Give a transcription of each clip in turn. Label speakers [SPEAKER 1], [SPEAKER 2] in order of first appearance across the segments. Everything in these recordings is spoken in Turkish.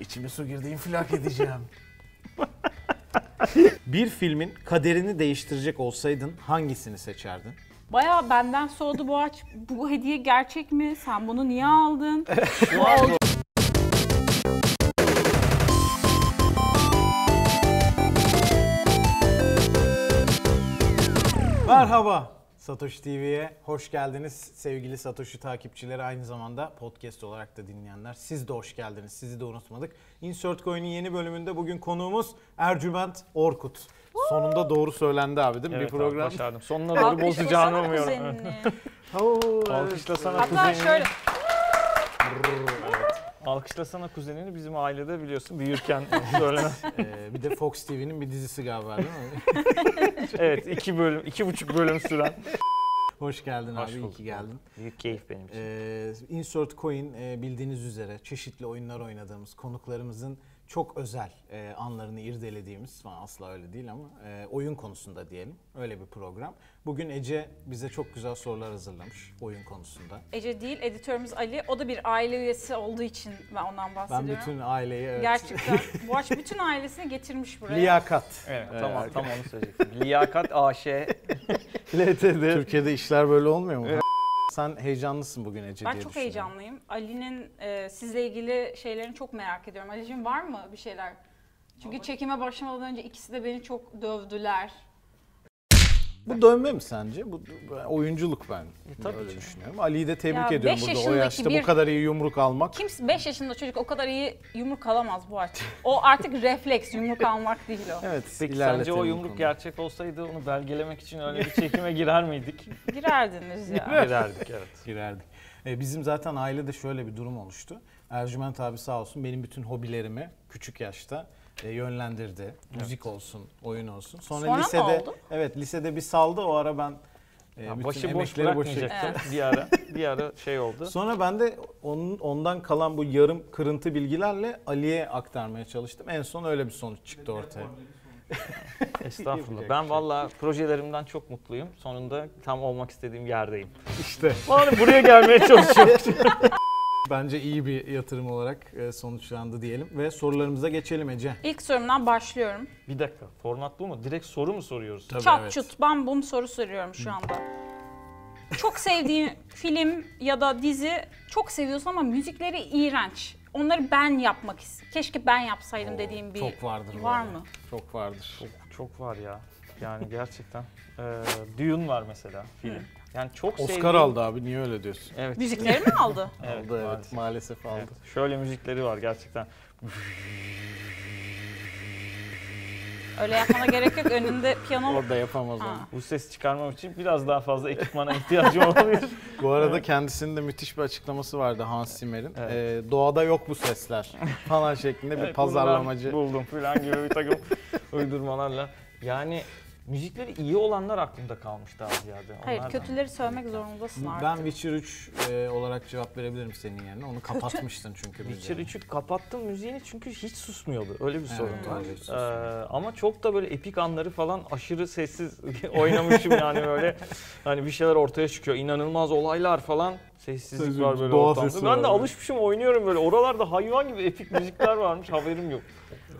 [SPEAKER 1] İçime su girdi infilak edeceğim.
[SPEAKER 2] Bir filmin kaderini değiştirecek olsaydın hangisini seçerdin?
[SPEAKER 3] Baya benden sordu bu aç bu hediye gerçek mi? Sen bunu niye aldın?
[SPEAKER 2] Merhaba Satoshi TV'ye hoş geldiniz sevgili Satoshi takipçileri aynı zamanda podcast olarak da dinleyenler siz de hoş geldiniz sizi de unutmadık. Insert Coin'in yeni bölümünde bugün konuğumuz Ercüment Orkut. Sonunda doğru söylendi abi değil mi?
[SPEAKER 4] Evet
[SPEAKER 2] bir
[SPEAKER 4] abi,
[SPEAKER 2] program.
[SPEAKER 4] başardım. Sonuna doğru bozacağını umuyorum. Evet.
[SPEAKER 2] Oo, evet.
[SPEAKER 4] Alkışlasana
[SPEAKER 3] Hatta
[SPEAKER 4] kuzenini.
[SPEAKER 3] şöyle
[SPEAKER 4] Alkışlasana kuzenini bizim ailede biliyorsun büyürken söylenen.
[SPEAKER 2] Ee, bir de Fox TV'nin bir dizisi galiba değil mi?
[SPEAKER 4] evet iki bölüm, iki buçuk bölüm süren.
[SPEAKER 2] hoş geldin
[SPEAKER 4] Hoş
[SPEAKER 2] abi iyi
[SPEAKER 4] bulduk.
[SPEAKER 2] ki geldin.
[SPEAKER 4] Büyük keyif benim için.
[SPEAKER 2] Ee, Insert Coin e, bildiğiniz üzere çeşitli oyunlar oynadığımız konuklarımızın çok özel e, anlarını irdelediğimiz, falan asla öyle değil ama e, oyun konusunda diyelim öyle bir program. Bugün Ece bize çok güzel sorular hazırlamış oyun konusunda.
[SPEAKER 3] Ece değil editörümüz Ali. O da bir aile üyesi olduğu için ben ondan
[SPEAKER 2] Ben
[SPEAKER 3] bahsediyorum.
[SPEAKER 2] bütün aileyi evet,
[SPEAKER 3] Gerçekten Boğaç bütün ailesini getirmiş buraya.
[SPEAKER 2] liyakat.
[SPEAKER 4] Evet,
[SPEAKER 2] Ee,
[SPEAKER 4] tamam, tam onu söyleyecektim. Liyakat AŞ. LTD.
[SPEAKER 2] Türkiye'de işler böyle olmuyor mu? Sen heyecanlısın bugün Ece
[SPEAKER 3] Ben
[SPEAKER 2] diye
[SPEAKER 3] çok
[SPEAKER 2] düşünüyorum.
[SPEAKER 3] heyecanlıyım. Ali'nin e, sizle ilgili şeylerini çok merak ediyorum. Ali'cim var mı bir şeyler? Çünkü çekime başlamadan önce ikisi de beni çok dövdüler.
[SPEAKER 2] Bu dönme mi sence? Bu bu oyunculuk ben.
[SPEAKER 4] tabii
[SPEAKER 2] öyle
[SPEAKER 4] ki.
[SPEAKER 2] düşünüyorum. Ali'yi de tebrik
[SPEAKER 3] Ya
[SPEAKER 2] ediyorum
[SPEAKER 3] beş
[SPEAKER 2] burada o
[SPEAKER 3] yaşındaki
[SPEAKER 2] yaşta
[SPEAKER 3] bir-
[SPEAKER 2] bu kadar iyi yumruk almak.
[SPEAKER 3] Kim 5 yaşında çocuk o kadar iyi yumruk alamaz bu artık. O artık refleks yumruk almak değil o.
[SPEAKER 2] Evet.
[SPEAKER 4] Peki sence
[SPEAKER 2] ilerletelim
[SPEAKER 4] o
[SPEAKER 2] bu
[SPEAKER 4] yumruk
[SPEAKER 2] konuyu.
[SPEAKER 4] gerçek olsaydı onu belgelemek için öyle bir çekime girer miydik?
[SPEAKER 3] Girerdiniz ya.
[SPEAKER 4] Girerdik evet.
[SPEAKER 2] girerdik. E, bizim zaten ailede şöyle bir durum oluştu. Ercüment abi sağ olsun benim bütün hobilerimi küçük yaşta e, yönlendirdi. Müzik olsun, oyun olsun. Sonra,
[SPEAKER 3] Sonra mı
[SPEAKER 2] lisede
[SPEAKER 3] oldu?
[SPEAKER 2] evet lisede bir saldı o ara ben e,
[SPEAKER 4] Ya
[SPEAKER 2] bütün
[SPEAKER 4] başı boş
[SPEAKER 2] emekleri boşa-
[SPEAKER 4] bırakmayacaktım bir ara. Bir ara şey oldu.
[SPEAKER 2] Sonra ben de onun ondan kalan bu yarım kırıntı bilgilerle Ali'ye aktarmaya çalıştım. En son öyle bir sonuç çıktı ortaya. şey
[SPEAKER 4] Estağfurullah. Ben valla projelerimden çok mutluyum. Sonunda tam olmak istediğim yerdeyim.
[SPEAKER 2] İşte
[SPEAKER 4] Vallahi buraya gelmeye çalışıyorum.
[SPEAKER 2] bence iyi bir yatırım olarak e, sonuçlandı diyelim ve sorularımıza geçelim Ece.
[SPEAKER 3] İlk sorumdan başlıyorum.
[SPEAKER 4] bir dakika. Format bu mu? Direkt soru mu soruyoruz?
[SPEAKER 3] Çat
[SPEAKER 2] evet.
[SPEAKER 3] çut bam bum soru soruyorum şu anda. Çok sevdiğin film ya da dizi çok seviyorsun ama müzikleri iğrenç. Onları ben yapmak istiyorum. Keşke ben yapsaydım dediğim bir
[SPEAKER 2] Çok vardır.
[SPEAKER 3] var
[SPEAKER 2] böyle.
[SPEAKER 3] mı?
[SPEAKER 2] Çok vardır.
[SPEAKER 4] Çok, çok var ya. Yani gerçekten. Ee, Dune var mesela film. Yani çok
[SPEAKER 2] Oscar
[SPEAKER 4] sevdiğim-
[SPEAKER 2] aldı abi niye öyle diyorsun?
[SPEAKER 4] Evet.
[SPEAKER 3] Müzikleri mi aldı?
[SPEAKER 4] Evet,
[SPEAKER 2] aldı evet
[SPEAKER 4] maalesef.
[SPEAKER 2] maalesef aldı.
[SPEAKER 4] Evet. Şöyle müzikleri var gerçekten.
[SPEAKER 3] Öyle yapmana gerek yok. Önünde piyano
[SPEAKER 2] Orada yapamaz
[SPEAKER 3] Ha.
[SPEAKER 2] onu.
[SPEAKER 4] Bu ses çıkarmam için biraz daha fazla ekipmana ihtiyacım olabilir.
[SPEAKER 2] Bu arada kendisinin de müthiş bir açıklaması vardı Hans Zimmer'in.
[SPEAKER 4] Evet.
[SPEAKER 2] Ee, doğada yok bu sesler falan şeklinde bir
[SPEAKER 4] Evet,
[SPEAKER 2] pazarlamacı.
[SPEAKER 4] bunu ben buldum falan gibi bir takım uydurmalarla. Yani müzikleri iyi olanlar aklımda kalmış daha ziyade.
[SPEAKER 3] Hayır,
[SPEAKER 4] Onlar da-
[SPEAKER 3] kötüleri sövmek zorundasın artık.
[SPEAKER 2] Ben Witcher 3 e, olarak cevap verebilirim senin yerine. Onu kapatmıştın çünkü.
[SPEAKER 4] Witcher
[SPEAKER 2] müziği.
[SPEAKER 4] 3'ü kapattım müziğini çünkü hiç susmuyordu. Öyle bir
[SPEAKER 2] Evet,
[SPEAKER 4] sorun var.
[SPEAKER 2] öyle bir sorun.
[SPEAKER 4] Ee, ama çok da böyle epik anları falan aşırı sessiz oynamışım yani böyle. Hani bir şeyler ortaya çıkıyor. İnanılmaz olaylar falan. Sessizlik
[SPEAKER 2] Sessiz,
[SPEAKER 4] var böyle
[SPEAKER 2] doğa
[SPEAKER 4] ortamda.
[SPEAKER 2] sesi
[SPEAKER 4] ben
[SPEAKER 2] var
[SPEAKER 4] de
[SPEAKER 2] böyle.
[SPEAKER 4] alışmışım oynuyorum böyle. Oralarda hayvan gibi epik müzikler varmış haberim yok.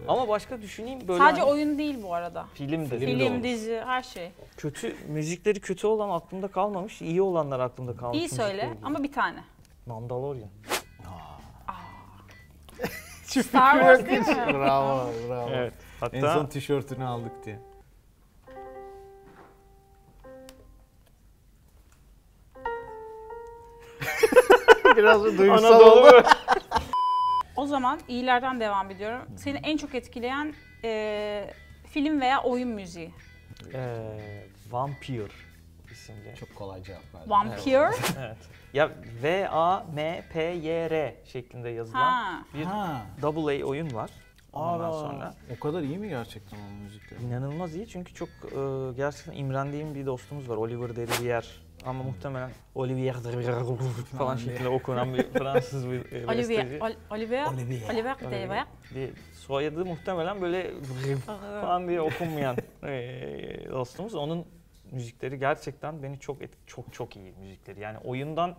[SPEAKER 4] Ama başka düşüneyim böyle
[SPEAKER 3] Sadece
[SPEAKER 4] hani
[SPEAKER 3] oyun değil bu arada.
[SPEAKER 4] film de.
[SPEAKER 2] Film de
[SPEAKER 3] Film,
[SPEAKER 2] olur.
[SPEAKER 3] dizi, her şey.
[SPEAKER 4] Kötü müzikleri kötü olan aklımda kalmamış. iyi olanlar aklımda kalmış.
[SPEAKER 3] İyi söyle
[SPEAKER 4] müzikleri.
[SPEAKER 3] ama bir tane.
[SPEAKER 4] Mandalorian.
[SPEAKER 3] Star Wars değil mi?
[SPEAKER 2] bravo bravo.
[SPEAKER 4] Evet. Hatta
[SPEAKER 2] En son tişörtünü aldık diye. Biraz da duygusal oldu.
[SPEAKER 4] Anadolu
[SPEAKER 3] O zaman iyilerden devam ediyorum. Seni en çok etkileyen eee, film veya oyun müziği.
[SPEAKER 4] Ee, Vampir isimli.
[SPEAKER 2] Çok kolay cevap verdim.
[SPEAKER 3] Vampire.
[SPEAKER 4] Evet. Ya V A M P Y R şeklinde yazılan
[SPEAKER 3] Ha.
[SPEAKER 4] bir
[SPEAKER 2] Ha,
[SPEAKER 4] double A oyun var. Ondan
[SPEAKER 2] Aa.
[SPEAKER 4] sonra
[SPEAKER 2] o kadar iyi mi gerçekten o müzikler?
[SPEAKER 4] inanılmaz iyi çünkü çok e, gerçekten imrendiğim bir dostumuz var Oliver Derivier ama muhtemelen Olivier falan şeklinde okunan bir Fransız bir e, besteci.
[SPEAKER 3] Olivier. Ol- Olivier.
[SPEAKER 2] Olivier.
[SPEAKER 3] Olivier Dayak.
[SPEAKER 4] Bir soyadı muhtemelen böyle falan diye okunmayan e, dostumuz. Onun müzikleri gerçekten beni çok et- çok çok iyi müzikleri. Yani oyundan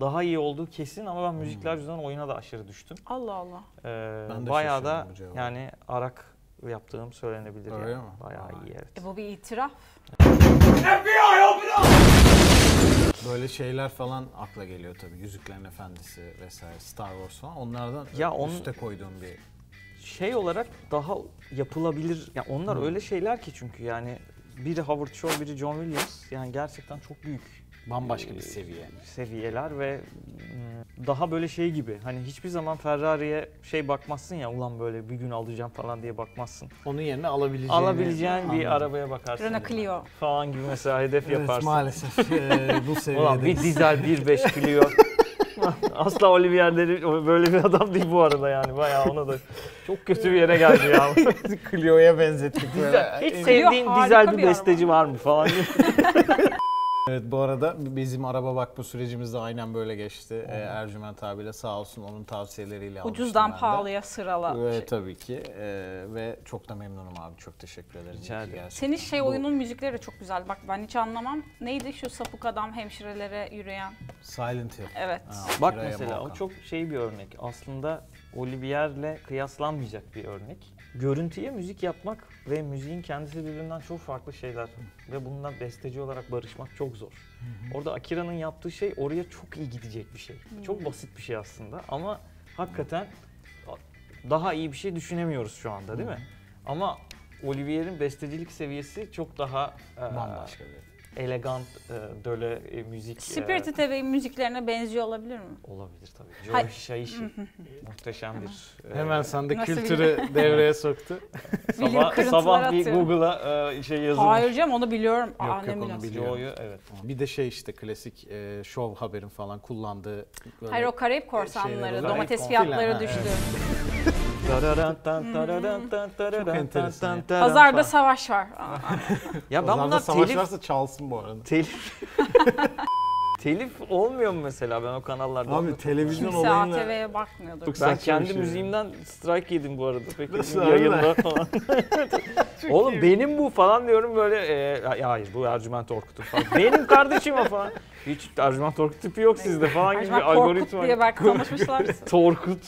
[SPEAKER 4] daha iyi olduğu kesin ama ben müzikler yüzünden oyuna da aşırı düştüm.
[SPEAKER 3] Allah Allah.
[SPEAKER 4] Ee,
[SPEAKER 2] Ben de
[SPEAKER 4] bayağı da
[SPEAKER 2] şaşırdım bu cevaba.
[SPEAKER 4] yani arak yaptığım söylenebilir.
[SPEAKER 2] Öyle
[SPEAKER 4] yani.
[SPEAKER 2] mi?
[SPEAKER 4] Bayağı
[SPEAKER 2] Vay.
[SPEAKER 4] iyi evet.
[SPEAKER 3] E bu bir itiraf.
[SPEAKER 2] Böyle şeyler falan akla geliyor tabii. Yüzüklerin Efendisi vesaire, Star Wars falan. Onlardan
[SPEAKER 4] Ya
[SPEAKER 2] ya
[SPEAKER 4] onun-
[SPEAKER 2] üste koyduğum bir
[SPEAKER 4] Şey olarak daha yapılabilir. Ya onlar
[SPEAKER 2] Hmm.
[SPEAKER 4] öyle şeyler ki çünkü yani biri Howard Shore, biri John Williams. Yani gerçekten çok büyük
[SPEAKER 2] bambaşka bir seviye.
[SPEAKER 4] seviyeler ve mm, daha böyle şey gibi. Hani hiçbir zaman Ferrari'ye şey bakmazsın ya ulan böyle bir gün alacağım falan diye bakmazsın.
[SPEAKER 2] Onun yerine alabileceğini
[SPEAKER 4] Alabileceğin bir
[SPEAKER 2] Anladım.
[SPEAKER 4] arabaya bakarsın.
[SPEAKER 3] Renault Clio.
[SPEAKER 4] Falan gibi mesela hedef
[SPEAKER 2] Evet,
[SPEAKER 4] yaparsın.
[SPEAKER 2] maalesef eee, bu seviyede.
[SPEAKER 4] Ulan bir dizel 1.5 Clio. Asla Olivier'leri böyle bir adam değil bu arada yani. Bayağı ona da çok kötü bir yere geldi ya.
[SPEAKER 2] Clio'ya benzettik böyle.
[SPEAKER 4] Hiç
[SPEAKER 2] Evet.
[SPEAKER 4] sevdiğin
[SPEAKER 3] harika
[SPEAKER 4] dizel bir
[SPEAKER 3] bir
[SPEAKER 4] besteci var mı falan diye.
[SPEAKER 2] Evet bu arada bizim araba bakma sürecimiz de aynen böyle geçti. Ee, Ercüment abiyle sağ olsun onun tavsiyeleriyle almıştım ben
[SPEAKER 3] Ucuzdan
[SPEAKER 2] de.
[SPEAKER 3] pahalıya sırala.
[SPEAKER 4] şey.
[SPEAKER 3] Şey,
[SPEAKER 2] Ve tabii ki ee, ve çok da memnunum abi çok teşekkür ederim.
[SPEAKER 4] Rica
[SPEAKER 2] İyi ki
[SPEAKER 4] ederim.
[SPEAKER 2] geldin.
[SPEAKER 3] Senin şey
[SPEAKER 2] Bu-
[SPEAKER 3] oyunun müzikleri de çok güzel. Bak ben hiç anlamam. Neydi şu sapık adam hemşirelere yürüyen?
[SPEAKER 2] Silent Hill.
[SPEAKER 3] Evet.
[SPEAKER 2] Ha,
[SPEAKER 4] Bak
[SPEAKER 2] Kiraya
[SPEAKER 4] mesela o
[SPEAKER 2] Malkan.
[SPEAKER 4] çok şey bir örnek. Aslında Olivier'le kıyaslanmayacak bir örnek. Görüntüye müzik yapmak ve müziğin kendisi birbirinden çok farklı şeyler. Ve bundan besteci olarak barışmak çok zor. Orada Akira'nın yaptığı şey oraya çok iyi gidecek bir şey. Çok basit bir şey aslında ama hakikaten daha iyi bir şey düşünemiyoruz şu anda değil mi? Ama Olivier'in bestecilik seviyesi çok daha e,
[SPEAKER 2] bambaşka bir.
[SPEAKER 4] elegant, e, döle e, müzik. e,
[SPEAKER 3] Spirited Away müziklerine benziyor olabilir mi?
[SPEAKER 4] Olabilir tabii.
[SPEAKER 3] Hay-
[SPEAKER 4] Joe Şaişi muhteşem bir. e,
[SPEAKER 2] Hemen sende
[SPEAKER 3] Nasıl
[SPEAKER 2] kültürü devreye soktu.
[SPEAKER 3] Bilim
[SPEAKER 4] sabah,
[SPEAKER 3] kırıntılar
[SPEAKER 4] sabah bir
[SPEAKER 3] atıyorum.
[SPEAKER 4] Google'a e, şey yazılmış.
[SPEAKER 3] Hayır canım onu biliyorum. Yok,
[SPEAKER 2] yok, onu biliyorum.
[SPEAKER 4] Joe'yu evet.
[SPEAKER 2] Bir de şey işte klasik e, şov haberin falan kullandığı böyle
[SPEAKER 3] Hayır o Karayip
[SPEAKER 2] Şeyler
[SPEAKER 3] korsanları,
[SPEAKER 2] olur.
[SPEAKER 3] domates
[SPEAKER 4] Karayip
[SPEAKER 2] korsan.
[SPEAKER 3] fiyatları
[SPEAKER 2] Ha,
[SPEAKER 3] düştü.
[SPEAKER 2] Çok enteresan ya.
[SPEAKER 3] Pazarda savaş var. Aa,
[SPEAKER 4] Ya ben
[SPEAKER 2] Ozan'da
[SPEAKER 4] bunlar
[SPEAKER 2] savaş
[SPEAKER 4] telif
[SPEAKER 2] varsa çalsın bu arada.
[SPEAKER 4] telif telif olmuyor mu mesela ben o kanallarda?
[SPEAKER 2] Abi televizyon
[SPEAKER 3] Kimse
[SPEAKER 2] olayına
[SPEAKER 3] ATV'ye bakmıyordur.
[SPEAKER 2] Çok
[SPEAKER 4] ben
[SPEAKER 2] saçma
[SPEAKER 4] kendi
[SPEAKER 2] bir şey.
[SPEAKER 4] müziğimden strike yedim bu arada. Peki
[SPEAKER 2] Nasıl abi?
[SPEAKER 4] yayında falan. Oğlum benim bu falan diyorum böyle e, ay- hayır bu Ercüment Orkut'un falan. benim kardeşim o falan. Hiç Ercüment Orkut tipi yok sizde falan gibi bir
[SPEAKER 3] Acaba Korkut
[SPEAKER 4] algoritma.
[SPEAKER 3] diye belki konuşmuşlar.
[SPEAKER 4] Torkut.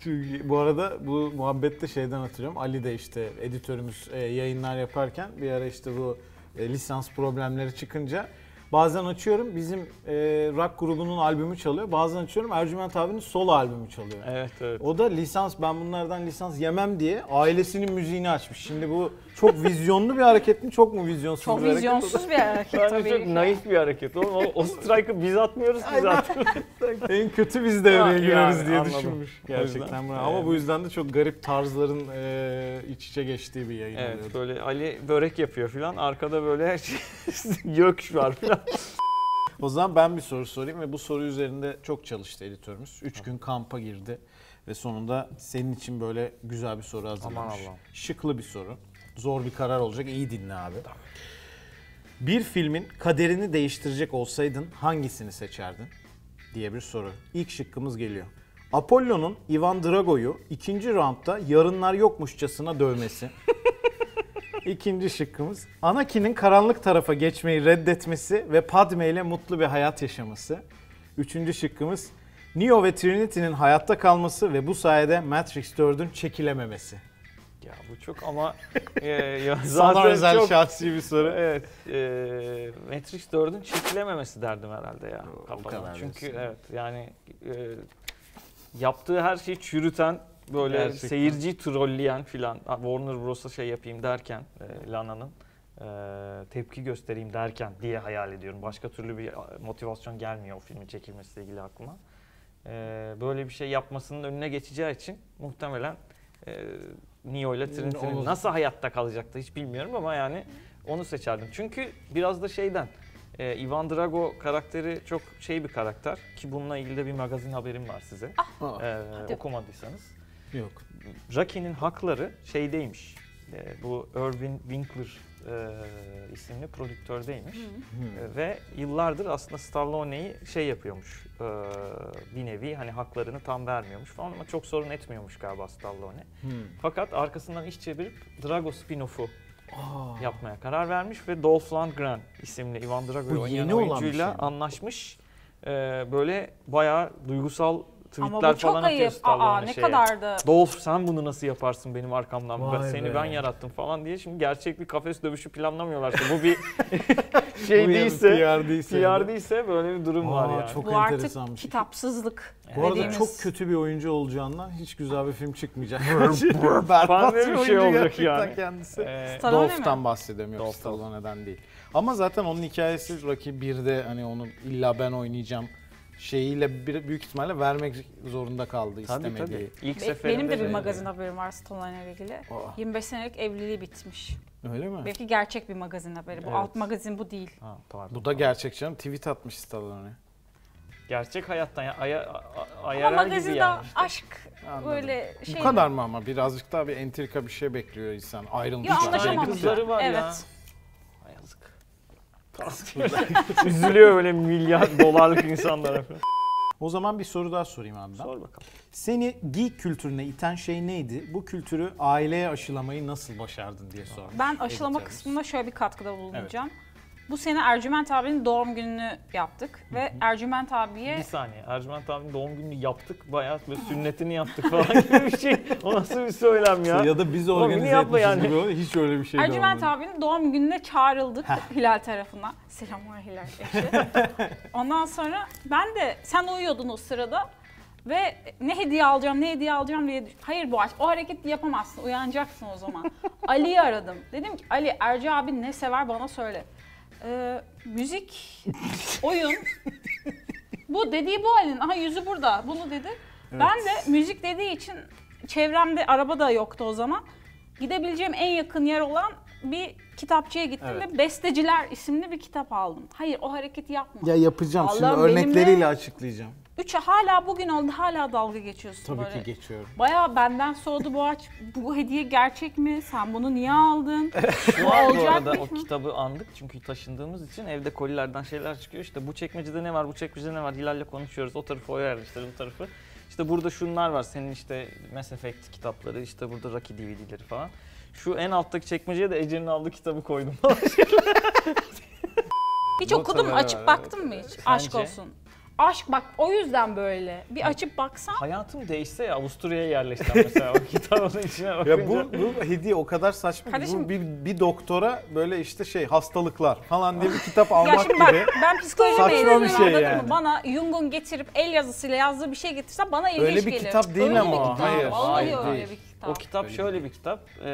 [SPEAKER 2] Çünkü bu arada bu muhabbette şeyden hatırlıyorum. Ali de işte editörümüz e, yayınlar yaparken bir ara işte bu e, lisans problemleri çıkınca bazen açıyorum bizim e, rock grubunun albümü çalıyor. Bazen açıyorum Ercüment abinin solo albümü çalıyor.
[SPEAKER 4] evet evet.
[SPEAKER 2] O da lisans ben bunlardan lisans yemem diye ailesinin müziğini açmış. Şimdi bu çok vizyonlu bir hareket mi çok mu vizyonsuz
[SPEAKER 3] Çok
[SPEAKER 2] bir hareket?
[SPEAKER 3] vizyonsuz bir hareket
[SPEAKER 4] Bence çok
[SPEAKER 3] tabii.
[SPEAKER 4] naif bir hareket oğlum. O, o strike'ı biz atmıyoruz ki zaten.
[SPEAKER 2] En kötü biz devreye
[SPEAKER 4] Yani
[SPEAKER 2] gireriz diye
[SPEAKER 4] anladım.
[SPEAKER 2] düşünmüş.
[SPEAKER 4] O yüzden.
[SPEAKER 2] Gerçekten bravo. Ama
[SPEAKER 4] Evet.
[SPEAKER 2] bu yüzden de çok garip tarzların e, iç içe geçtiği bir yayın oluyordu.
[SPEAKER 4] evet böyle Ali börek yapıyor filan. Arkada böyle her şey gök var filan.
[SPEAKER 2] O zaman ben bir soru sorayım ve bu soru üzerinde çok çalıştı editörümüz. Üç gün kampa girdi ve sonunda senin için böyle güzel bir soru hazırlamış.
[SPEAKER 4] Allah'ım.
[SPEAKER 2] Şıklı bir soru. Zor bir karar olacak. İyi dinle abi. Bir filmin kaderini değiştirecek olsaydın hangisini seçerdin? diye bir soru. İlk şıkkımız geliyor. Apollo'nun Ivan Drago'yu ikinci roundda yarınlar yokmuşçasına dövmesi. İkinci şıkkımız Anakin'in karanlık tarafa geçmeyi reddetmesi ve Padme ile mutlu bir hayat yaşaması. Üçüncü şıkkımız Neo ve Trinity'nin hayatta kalması ve bu sayede Matrix 4'ün çekilememesi.
[SPEAKER 4] Ya bu çok ama e, ya
[SPEAKER 2] Sana
[SPEAKER 4] zaten
[SPEAKER 2] özel
[SPEAKER 4] çok
[SPEAKER 2] şahsi bir soru.
[SPEAKER 4] Evet, e, Ee, Matrix 4'ün çekilememesi derdim herhalde ya
[SPEAKER 2] O- o
[SPEAKER 4] kafamda.
[SPEAKER 2] kadar
[SPEAKER 4] Çünkü
[SPEAKER 2] diyorsun.
[SPEAKER 4] evet yani e, yaptığı her şeyi çürüten böyle
[SPEAKER 2] Gerçekten.
[SPEAKER 4] seyirciyi trolleyen filan ha, Warner Bros'a şey yapayım derken e, Lana'nın e, tepki göstereyim derken diye hayal ediyorum. Başka türlü bir e, motivasyon gelmiyor o filmin çekilmesiyle ilgili aklıma. E, böyle bir şey yapmasının önüne geçeceği için muhtemelen e, Neo ile Trinity'nin
[SPEAKER 2] Olur.
[SPEAKER 4] nasıl hayatta kalacaktı hiç bilmiyorum ama yani onu seçerdim. Çünkü biraz da şeyden, e, Ivan Drago karakteri çok şey bir karakter ki bununla ilgili de bir magazin haberim var size.
[SPEAKER 2] Aa,
[SPEAKER 4] E,
[SPEAKER 3] hadi.
[SPEAKER 4] okumadıysanız.
[SPEAKER 2] Yok.
[SPEAKER 4] Rocky'nin hakları şeydeymiş. E, bu Irvin Winkler e, isimli prodüktördeymiş.
[SPEAKER 2] Hmm.
[SPEAKER 4] E, ve yıllardır aslında Stallone'yi şey yapıyormuş. e, bir nevi hani haklarını tam vermiyormuş falan ama çok sorun etmiyormuş galiba Stallone.
[SPEAKER 2] Hmm.
[SPEAKER 4] Fakat arkasından iş çevirip Drago spin-off'u
[SPEAKER 2] Aa,
[SPEAKER 4] yapmaya karar vermiş ve Dolph Lundgren isimli Ivan Drago'yu
[SPEAKER 2] Bu
[SPEAKER 4] oynayan
[SPEAKER 2] yeni olan bir
[SPEAKER 4] oyuncuyla
[SPEAKER 2] şey mi?
[SPEAKER 4] anlaşmış. Ee, böyle bayağı duygusal tweetler
[SPEAKER 3] Ama bu çok
[SPEAKER 4] falan
[SPEAKER 3] ayıp.
[SPEAKER 4] atıyorsun
[SPEAKER 3] Aa
[SPEAKER 4] Stallone
[SPEAKER 3] ne
[SPEAKER 4] şeye.
[SPEAKER 3] kadardı.
[SPEAKER 4] Dolph sen bunu nasıl yaparsın benim arkamdan? Ben-
[SPEAKER 1] Vay
[SPEAKER 4] seni
[SPEAKER 1] be.
[SPEAKER 4] ben yarattım falan diye. Şimdi gerçek bir kafes dövüşü planlamıyorlarsa bu bir şey
[SPEAKER 2] Bu yani
[SPEAKER 4] değilse,
[SPEAKER 2] PR değilse.
[SPEAKER 4] PR değilse böyle bir durum var
[SPEAKER 2] Aa,
[SPEAKER 4] yani.
[SPEAKER 2] çok
[SPEAKER 3] Bu artık
[SPEAKER 2] enteresanmış.
[SPEAKER 3] kitapsızlık.
[SPEAKER 2] Bu arada
[SPEAKER 3] dediğimiz.
[SPEAKER 2] çok kötü bir oyuncu olacağından hiç güzel bir film çıkmayacak.
[SPEAKER 4] Fan
[SPEAKER 2] Berbat
[SPEAKER 4] ve bir şey olacak
[SPEAKER 2] gerçekten
[SPEAKER 4] yani.
[SPEAKER 2] kendisi.
[SPEAKER 4] Ee,
[SPEAKER 3] Stallone mi?
[SPEAKER 2] Dolph'tan E, bahsediyorum yok
[SPEAKER 4] Dolph,
[SPEAKER 2] Stallone'den değil. Ama zaten onun hikayesi Rocky 1'de hani onu illa ben oynayacağım şeyiyle bir- büyük ihtimalle vermek zorunda kaldı
[SPEAKER 4] tabii
[SPEAKER 2] istemediği.
[SPEAKER 4] tabii. İlk
[SPEAKER 3] Be-
[SPEAKER 4] seferinde
[SPEAKER 3] Benim de bir
[SPEAKER 4] şey-
[SPEAKER 3] magazin haberim var Stallone ile ilgili.
[SPEAKER 2] Aa.
[SPEAKER 3] 25 senelik evliliği bitmiş.
[SPEAKER 2] Oh, Öyle mi?
[SPEAKER 3] Belki gerçek bir magazin haberi. Bu
[SPEAKER 4] Evet.
[SPEAKER 3] alt magazin bu değil.
[SPEAKER 4] Ha, pardon.
[SPEAKER 2] Bu da gerçek canım. Tweet atmış Stallone.
[SPEAKER 4] gerçek hayattan ya aya, a- a-
[SPEAKER 3] Ama
[SPEAKER 4] ayarar gibi
[SPEAKER 3] magazinde
[SPEAKER 4] yani.
[SPEAKER 3] aşk
[SPEAKER 2] Anladım.
[SPEAKER 3] böyle şey.
[SPEAKER 2] Bu kadar mı ama? Birazcık daha bir entrika bir şey bekliyor insan. Ayrılmış.
[SPEAKER 3] Ya
[SPEAKER 2] bir şey
[SPEAKER 4] anlaşamamış.
[SPEAKER 2] ayrılık.
[SPEAKER 3] anlaşamamışlar.
[SPEAKER 4] kızları var ya.
[SPEAKER 3] evet.
[SPEAKER 4] Ay, Yazık. Üzülüyor öyle milyar dolarlık insanlara falan.
[SPEAKER 2] O zaman bir soru daha sorayım abi ben.
[SPEAKER 4] Sor bakalım.
[SPEAKER 2] Seni geek kültürüne iten şey neydi? Bu kültürü aileye aşılamayı nasıl başardın diye sordum.
[SPEAKER 3] Ben aşılama
[SPEAKER 2] Editörümüz.
[SPEAKER 3] kısmında şöyle bir katkıda bulunacağım. Bu sene Ercüment abinin doğum gününü yaptık ve Ercüment abiye
[SPEAKER 4] Bir saniye. Ercüment abinin doğum gününü yaptık. Bayağı böyle sünnetini yaptık falan gibi bir şey. O nasıl bir söylem ya?
[SPEAKER 2] Ya da biz
[SPEAKER 4] Oğlum,
[SPEAKER 2] organize
[SPEAKER 4] bunu yapma
[SPEAKER 2] etmişiz
[SPEAKER 4] yani.
[SPEAKER 2] gibi oldu. Hiç öyle bir şey de
[SPEAKER 3] Ercüment
[SPEAKER 2] olmadı.
[SPEAKER 3] abinin doğum gününe çağrıldık Hilal tarafına. Selamlar Hilal eşi. Ondan sonra ben de sen uyuyordun o sırada ve ne hediye alacağım ne hediye alacağım diye düş- hayır bu o hareketi yapamazsın uyanacaksın o zaman. Ali'yi aradım. Dedim ki Ali Erci abi ne sever bana söyle. Ee, müzik, oyun. bu dediği bu Ali'nin. Aha yüzü burada. Bunu dedi. Ben de müzik dediği için çevremde araba da yoktu o zaman. Gidebileceğim en yakın yer olan bir kitapçıya gittim
[SPEAKER 2] Evet.
[SPEAKER 3] ve Besteciler isimli bir kitap aldım. Hayır o hareketi yapma.
[SPEAKER 2] Ya yapacağım şimdi
[SPEAKER 3] Allah'ım benimle-
[SPEAKER 2] örnekleriyle açıklayacağım.
[SPEAKER 3] Üçe hala bugün oldu hala dalga geçiyorsun
[SPEAKER 2] Tabii
[SPEAKER 3] böyle.
[SPEAKER 2] ki geçiyorum.
[SPEAKER 3] Baya benden soğudu bu aç. Bu hediye gerçek mi? Sen bunu niye aldın? Bu
[SPEAKER 4] Bu
[SPEAKER 3] olacak
[SPEAKER 4] arada
[SPEAKER 3] mı?
[SPEAKER 4] o kitabı andık çünkü taşındığımız için evde kolilerden şeyler çıkıyor. İşte bu çekmecede ne var, bu çekmecede ne var Hilal'le konuşuyoruz. O tarafı o yerleştir, bu tarafı. İşte burada şunlar var. Senin işte Mass Effect kitapları, işte burada Rocky DVD'leri falan. Şu en alttaki çekmeceye de Ece'nin aldığı kitabı koydum.
[SPEAKER 3] Hiç
[SPEAKER 2] Not
[SPEAKER 3] okudum
[SPEAKER 2] haberi
[SPEAKER 3] açıp
[SPEAKER 2] var,
[SPEAKER 3] baktın mı hiç? Aşk
[SPEAKER 4] Sence?
[SPEAKER 3] olsun. Aşk bak o yüzden böyle. Bir açıp baksan
[SPEAKER 4] Hayatım değişse ya Avusturya'ya yerleştim mesela o kitabın içine bakınca.
[SPEAKER 2] Ya bu, bu hediye o kadar saçma. ki.
[SPEAKER 3] Kardeşim-
[SPEAKER 2] Bu bir, bir doktora böyle işte şey hastalıklar falan diye bir kitap almak
[SPEAKER 3] ya şimdi bak
[SPEAKER 2] gibi.
[SPEAKER 3] ben psikoloji
[SPEAKER 2] Saçma bir
[SPEAKER 3] mezunuyum
[SPEAKER 2] şey
[SPEAKER 3] anladın
[SPEAKER 2] yani.
[SPEAKER 3] mı? Bana Jung'un getirip el yazısıyla yazdığı bir şey getirse bana ilginç
[SPEAKER 2] Öyle bir
[SPEAKER 3] gelir.
[SPEAKER 2] kitap değil
[SPEAKER 3] öyle
[SPEAKER 2] ama,
[SPEAKER 3] bir kitap.
[SPEAKER 2] hayır,
[SPEAKER 3] Vallahi
[SPEAKER 2] hayır,
[SPEAKER 3] öyle
[SPEAKER 2] değil.
[SPEAKER 3] bir kitap.
[SPEAKER 4] O kitap şöyle bir kitap. Ee,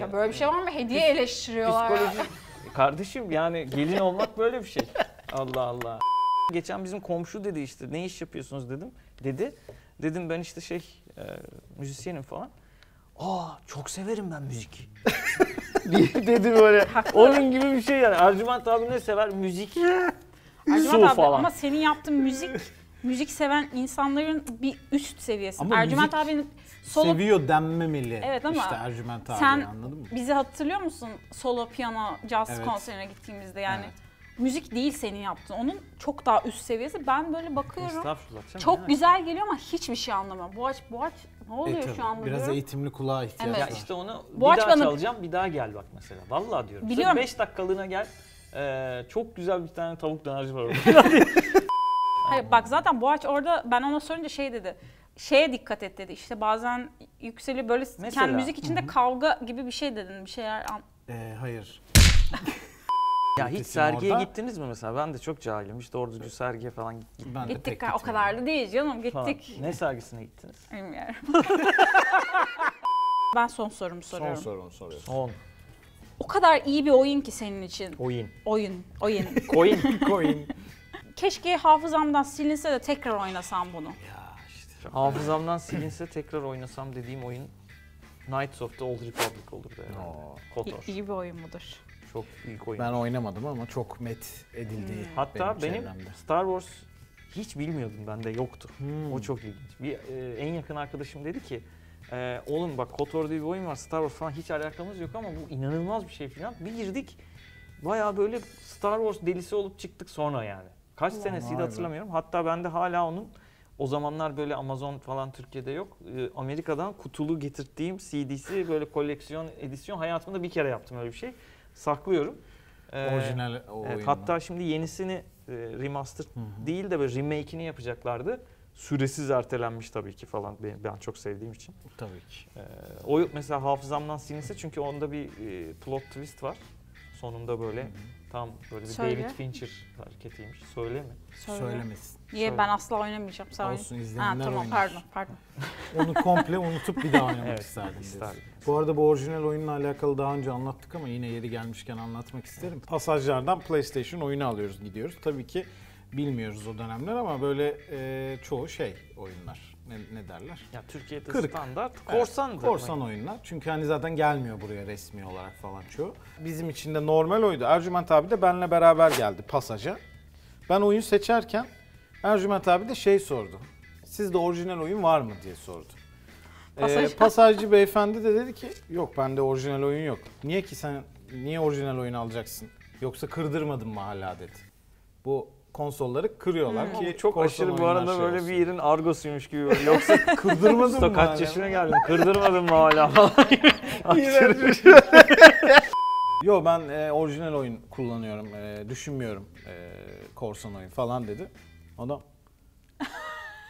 [SPEAKER 3] ya böyle bir şey var mı? Hediye eleştiriyorlar. ya.
[SPEAKER 4] Psikoloji. Kardeşim yani gelin olmak böyle bir şey. Allah Allah. Geçen bizim komşu dedi işte ne iş yapıyorsunuz dedim. Dedi. Dedim ben işte şey e, müzisyenim falan. Aa çok severim ben müzik. Diye dedi böyle. Onun gibi bir şey yani. Ercüment abi ne sever? Müzik.
[SPEAKER 3] Ercüment
[SPEAKER 4] Su
[SPEAKER 3] abi
[SPEAKER 4] falan.
[SPEAKER 3] ama senin yaptığın müzik müzik seven insanların bir üst seviyesi.
[SPEAKER 2] Ama
[SPEAKER 3] Ercüment
[SPEAKER 2] müzik
[SPEAKER 3] abinin solo
[SPEAKER 2] Seviyor denmemeli.
[SPEAKER 3] Evet ama
[SPEAKER 2] işte Ercüment abi
[SPEAKER 3] sen-
[SPEAKER 2] anladın mı?
[SPEAKER 3] bizi hatırlıyor musun? Solo piyano caz
[SPEAKER 2] Evet.
[SPEAKER 3] konserine gittiğimizde yani
[SPEAKER 2] Evet.
[SPEAKER 3] müzik değil senin yaptığın. Onun çok daha üst seviyesi. Ben böyle bakıyorum.
[SPEAKER 4] Estağfurullah. canım,
[SPEAKER 3] Çok
[SPEAKER 4] ne
[SPEAKER 3] güzel geliyor ama hiçbir şey anlamam. Boğaç, boğaç ne
[SPEAKER 2] E,
[SPEAKER 3] oluyor
[SPEAKER 2] tabii.
[SPEAKER 3] şu anda
[SPEAKER 2] Biraz
[SPEAKER 3] diyorum.
[SPEAKER 2] eğitimli kulağa ihtiyaç
[SPEAKER 3] Evet.
[SPEAKER 4] Ya
[SPEAKER 2] var.
[SPEAKER 3] Mesela.
[SPEAKER 4] işte onu
[SPEAKER 3] Bu
[SPEAKER 4] bir daha
[SPEAKER 3] açmanın-
[SPEAKER 4] çalacağım bir daha gel bak mesela. Vallahi diyorum.
[SPEAKER 3] Biliyorum.
[SPEAKER 4] 5 dakikalığına gel. Ee, çok güzel bir tane tavuk dönerci var orada.
[SPEAKER 3] Hayır bak zaten Boğaç orada ben ona sorunca şey dedi. Şeye dikkat et dedi. İşte bazen yükseliyor böyle
[SPEAKER 4] Mesela.
[SPEAKER 3] kendi müzik içinde kavga gibi bir şey dedin. Bir şeyler an-
[SPEAKER 2] Ee, hayır.
[SPEAKER 4] Ya hiç
[SPEAKER 2] Ötesi
[SPEAKER 4] sergiye
[SPEAKER 2] orada.
[SPEAKER 4] gittiniz mi mesela? Ben de çok cahilim. İşte orada bir sergiye falan gittik
[SPEAKER 2] Ben de
[SPEAKER 3] gittik.
[SPEAKER 2] pek
[SPEAKER 3] ha, o
[SPEAKER 2] gitmiyorum.
[SPEAKER 3] kadar da değil canım
[SPEAKER 4] falan.
[SPEAKER 3] gittik.
[SPEAKER 4] Ne sergisine gittiniz?
[SPEAKER 3] Bilmiyorum. ben son sorumu
[SPEAKER 2] Son
[SPEAKER 3] soruyorum.
[SPEAKER 2] sorunu soruyorsun.
[SPEAKER 4] 10.
[SPEAKER 3] O kadar iyi bir oyun ki senin için.
[SPEAKER 4] Oyun.
[SPEAKER 3] Oyun, oyun.
[SPEAKER 4] Coin.
[SPEAKER 2] Bitcoin.
[SPEAKER 3] Keşke hafızamdan silinse de tekrar oynasam bunu.
[SPEAKER 2] ya işte.
[SPEAKER 4] Hafızamdan silinse tekrar oynasam dediğim oyun Knights of the Old Republic olurdu herhalde.
[SPEAKER 2] Oo.
[SPEAKER 4] KOTOR.
[SPEAKER 3] iyi bir oyun mudur?
[SPEAKER 4] Çok büyük oyun.
[SPEAKER 2] Ben oynamadım ama çok met edildiği
[SPEAKER 3] Hmm.
[SPEAKER 4] Hatta benim,
[SPEAKER 2] çevremde.
[SPEAKER 4] Star Wars hiç bilmiyordum bende yoktu.
[SPEAKER 2] Hmm.
[SPEAKER 4] O çok ilginç. Bir e, en yakın arkadaşım dedi ki e, oğlum bak KOTOR diye bir oyun var Star Wars falan hiç alakamız yok ama bu inanılmaz bir şey falan. Bir girdik bayağı böyle Star Wars delisi olup çıktık sonra yani. Kaç senesiydi
[SPEAKER 2] vay be.
[SPEAKER 4] hatırlamıyorum. Hatta bende hala onun o zamanlar böyle Amazon falan Türkiye'de yok. E, Amerika'dan kutulu getirttiğim CD'si böyle koleksiyon edisyon hayatımda bir kere yaptım öyle bir şey. Saklıyorum. E,
[SPEAKER 2] Orijinal o
[SPEAKER 4] Evet,
[SPEAKER 2] oyunun.
[SPEAKER 4] hatta şimdi yenisini e, remaster
[SPEAKER 2] Hı hı.
[SPEAKER 4] değil de böyle remake'ini yapacaklardı. Süresiz ertelenmiş tabii ki falan ben, ben çok sevdiğim için.
[SPEAKER 2] Tabii ki.
[SPEAKER 4] Ee, o yok mesela hafızamdan silinse çünkü onda bir e, plot twist var. Sonunda böyle tam böyle bir
[SPEAKER 3] Söyle.
[SPEAKER 4] David Fincher hareketiymiş. Söyle mi?
[SPEAKER 3] Söyle.
[SPEAKER 2] Söylemesin.
[SPEAKER 3] Niye
[SPEAKER 4] Söyle.
[SPEAKER 3] ben asla oynamayacağım sen oyna.
[SPEAKER 2] Olsun
[SPEAKER 3] Ha
[SPEAKER 2] izleyenler
[SPEAKER 3] tamam
[SPEAKER 2] oynar.
[SPEAKER 3] pardon pardon.
[SPEAKER 2] Onu komple unutup bir daha oynamak isterdim. diyorsun.
[SPEAKER 4] isterdim.
[SPEAKER 2] Bu arada bu orijinal oyunla alakalı daha önce anlattık ama yine yeri gelmişken anlatmak isterim. Pasajlardan PlayStation oyunu alıyoruz gidiyoruz. Tabii ki bilmiyoruz o dönemler ama böyle e, çoğu şey oyunlar. Ne, ne derler?
[SPEAKER 4] Ya Türkiye'de
[SPEAKER 2] Kırk.
[SPEAKER 4] standart Hani
[SPEAKER 2] Evet,
[SPEAKER 4] korsan
[SPEAKER 2] Korsan oyunlar. Çünkü hani zaten gelmiyor buraya resmi olarak falan çoğu. Bizim için de normal oydu. Ercüment abi de benle beraber geldi pasaja. Ben oyun seçerken Ercüment abi de şey sordu. Sizde orijinal oyun var mı diye sordu. Ee,
[SPEAKER 3] Pasaj-
[SPEAKER 2] pasajcı beyefendi de dedi ki yok bende orijinal oyun yok. Niye ki sen niye orijinal oyun alacaksın? Yoksa kırdırmadın mı hala dedi. Bu konsolları kırıyorlar
[SPEAKER 4] Ama
[SPEAKER 2] ki
[SPEAKER 4] bu Hmm. çok
[SPEAKER 2] korsan
[SPEAKER 4] aşırı bu
[SPEAKER 2] oyunlar
[SPEAKER 4] arada
[SPEAKER 2] şey
[SPEAKER 4] böyle
[SPEAKER 2] olsun.
[SPEAKER 4] bir yerin argosuymuş gibi. böyle. Yoksa
[SPEAKER 2] kırdırmadın mı
[SPEAKER 4] usta kaç
[SPEAKER 2] hala?
[SPEAKER 4] yaşına geldin? Kırdırmadın mı hala falan gibi. Aşırı-
[SPEAKER 2] Yo ben e, orijinal oyun kullanıyorum, e, düşünmüyorum e, korsan oyun falan dedi. Adam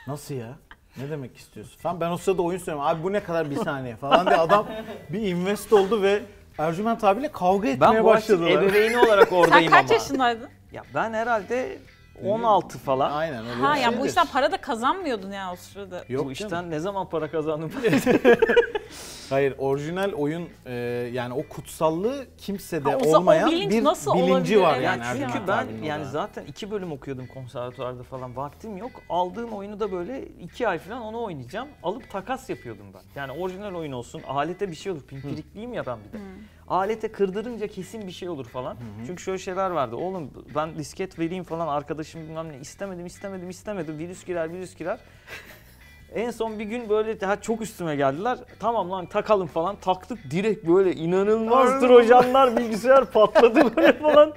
[SPEAKER 2] nasıl ya? Ne demek istiyorsun? Falan. Ben o sırada oyun söylüyorum. Abi bu ne kadar bir saniye falan diye adam bir invest oldu ve Ercüment abiyle kavga etmeye
[SPEAKER 4] ben bu açık
[SPEAKER 2] başladılar.
[SPEAKER 4] ebeveyni olarak
[SPEAKER 3] Sen
[SPEAKER 4] oradayım
[SPEAKER 3] kaç
[SPEAKER 4] ama.
[SPEAKER 3] yaşındaydın?
[SPEAKER 4] Ya ben herhalde 16 falan.
[SPEAKER 2] Aynen öyle.
[SPEAKER 3] Ha
[SPEAKER 2] bir
[SPEAKER 3] ya bu
[SPEAKER 2] şeydir.
[SPEAKER 3] işten para da kazanmıyordun ya o sırada.
[SPEAKER 2] Yok
[SPEAKER 4] bu işten
[SPEAKER 2] canım.
[SPEAKER 4] ne zaman para kazandım?
[SPEAKER 2] Hayır orijinal oyun e, yani o kutsallığı kimsede
[SPEAKER 3] Ha, o zaman o
[SPEAKER 2] olmayan
[SPEAKER 3] bilinç
[SPEAKER 2] bir
[SPEAKER 3] nasıl
[SPEAKER 2] bilinci
[SPEAKER 3] olabilir?
[SPEAKER 2] var
[SPEAKER 3] Evet,
[SPEAKER 2] yani.
[SPEAKER 3] çünkü
[SPEAKER 2] Ercüment
[SPEAKER 4] Çünkü ben
[SPEAKER 2] abinin o
[SPEAKER 4] yani
[SPEAKER 2] dönem.
[SPEAKER 4] zaten iki bölüm okuyordum konservatuvarda falan vaktim yok. Aldığım oyunu da böyle iki ay falan onu oynayacağım. Alıp takas yapıyordum ben. Yani orijinal oyun olsun alete bir şey olur. Pimpirikliyim ya ben bir de. Alete kırdırınca kesin bir şey olur falan. Çünkü şöyle şeyler vardı. Oğlum ben disket vereyim falan arkadaşım bilmem ne istemedim istemedim istemedim. Virüs girer virüs girer. En son bir gün böyle daha çok üstüme geldiler. Tamam lan takalım falan. Taktık direkt böyle inanılmaz trojanlar bilgisayar patladı böyle falan.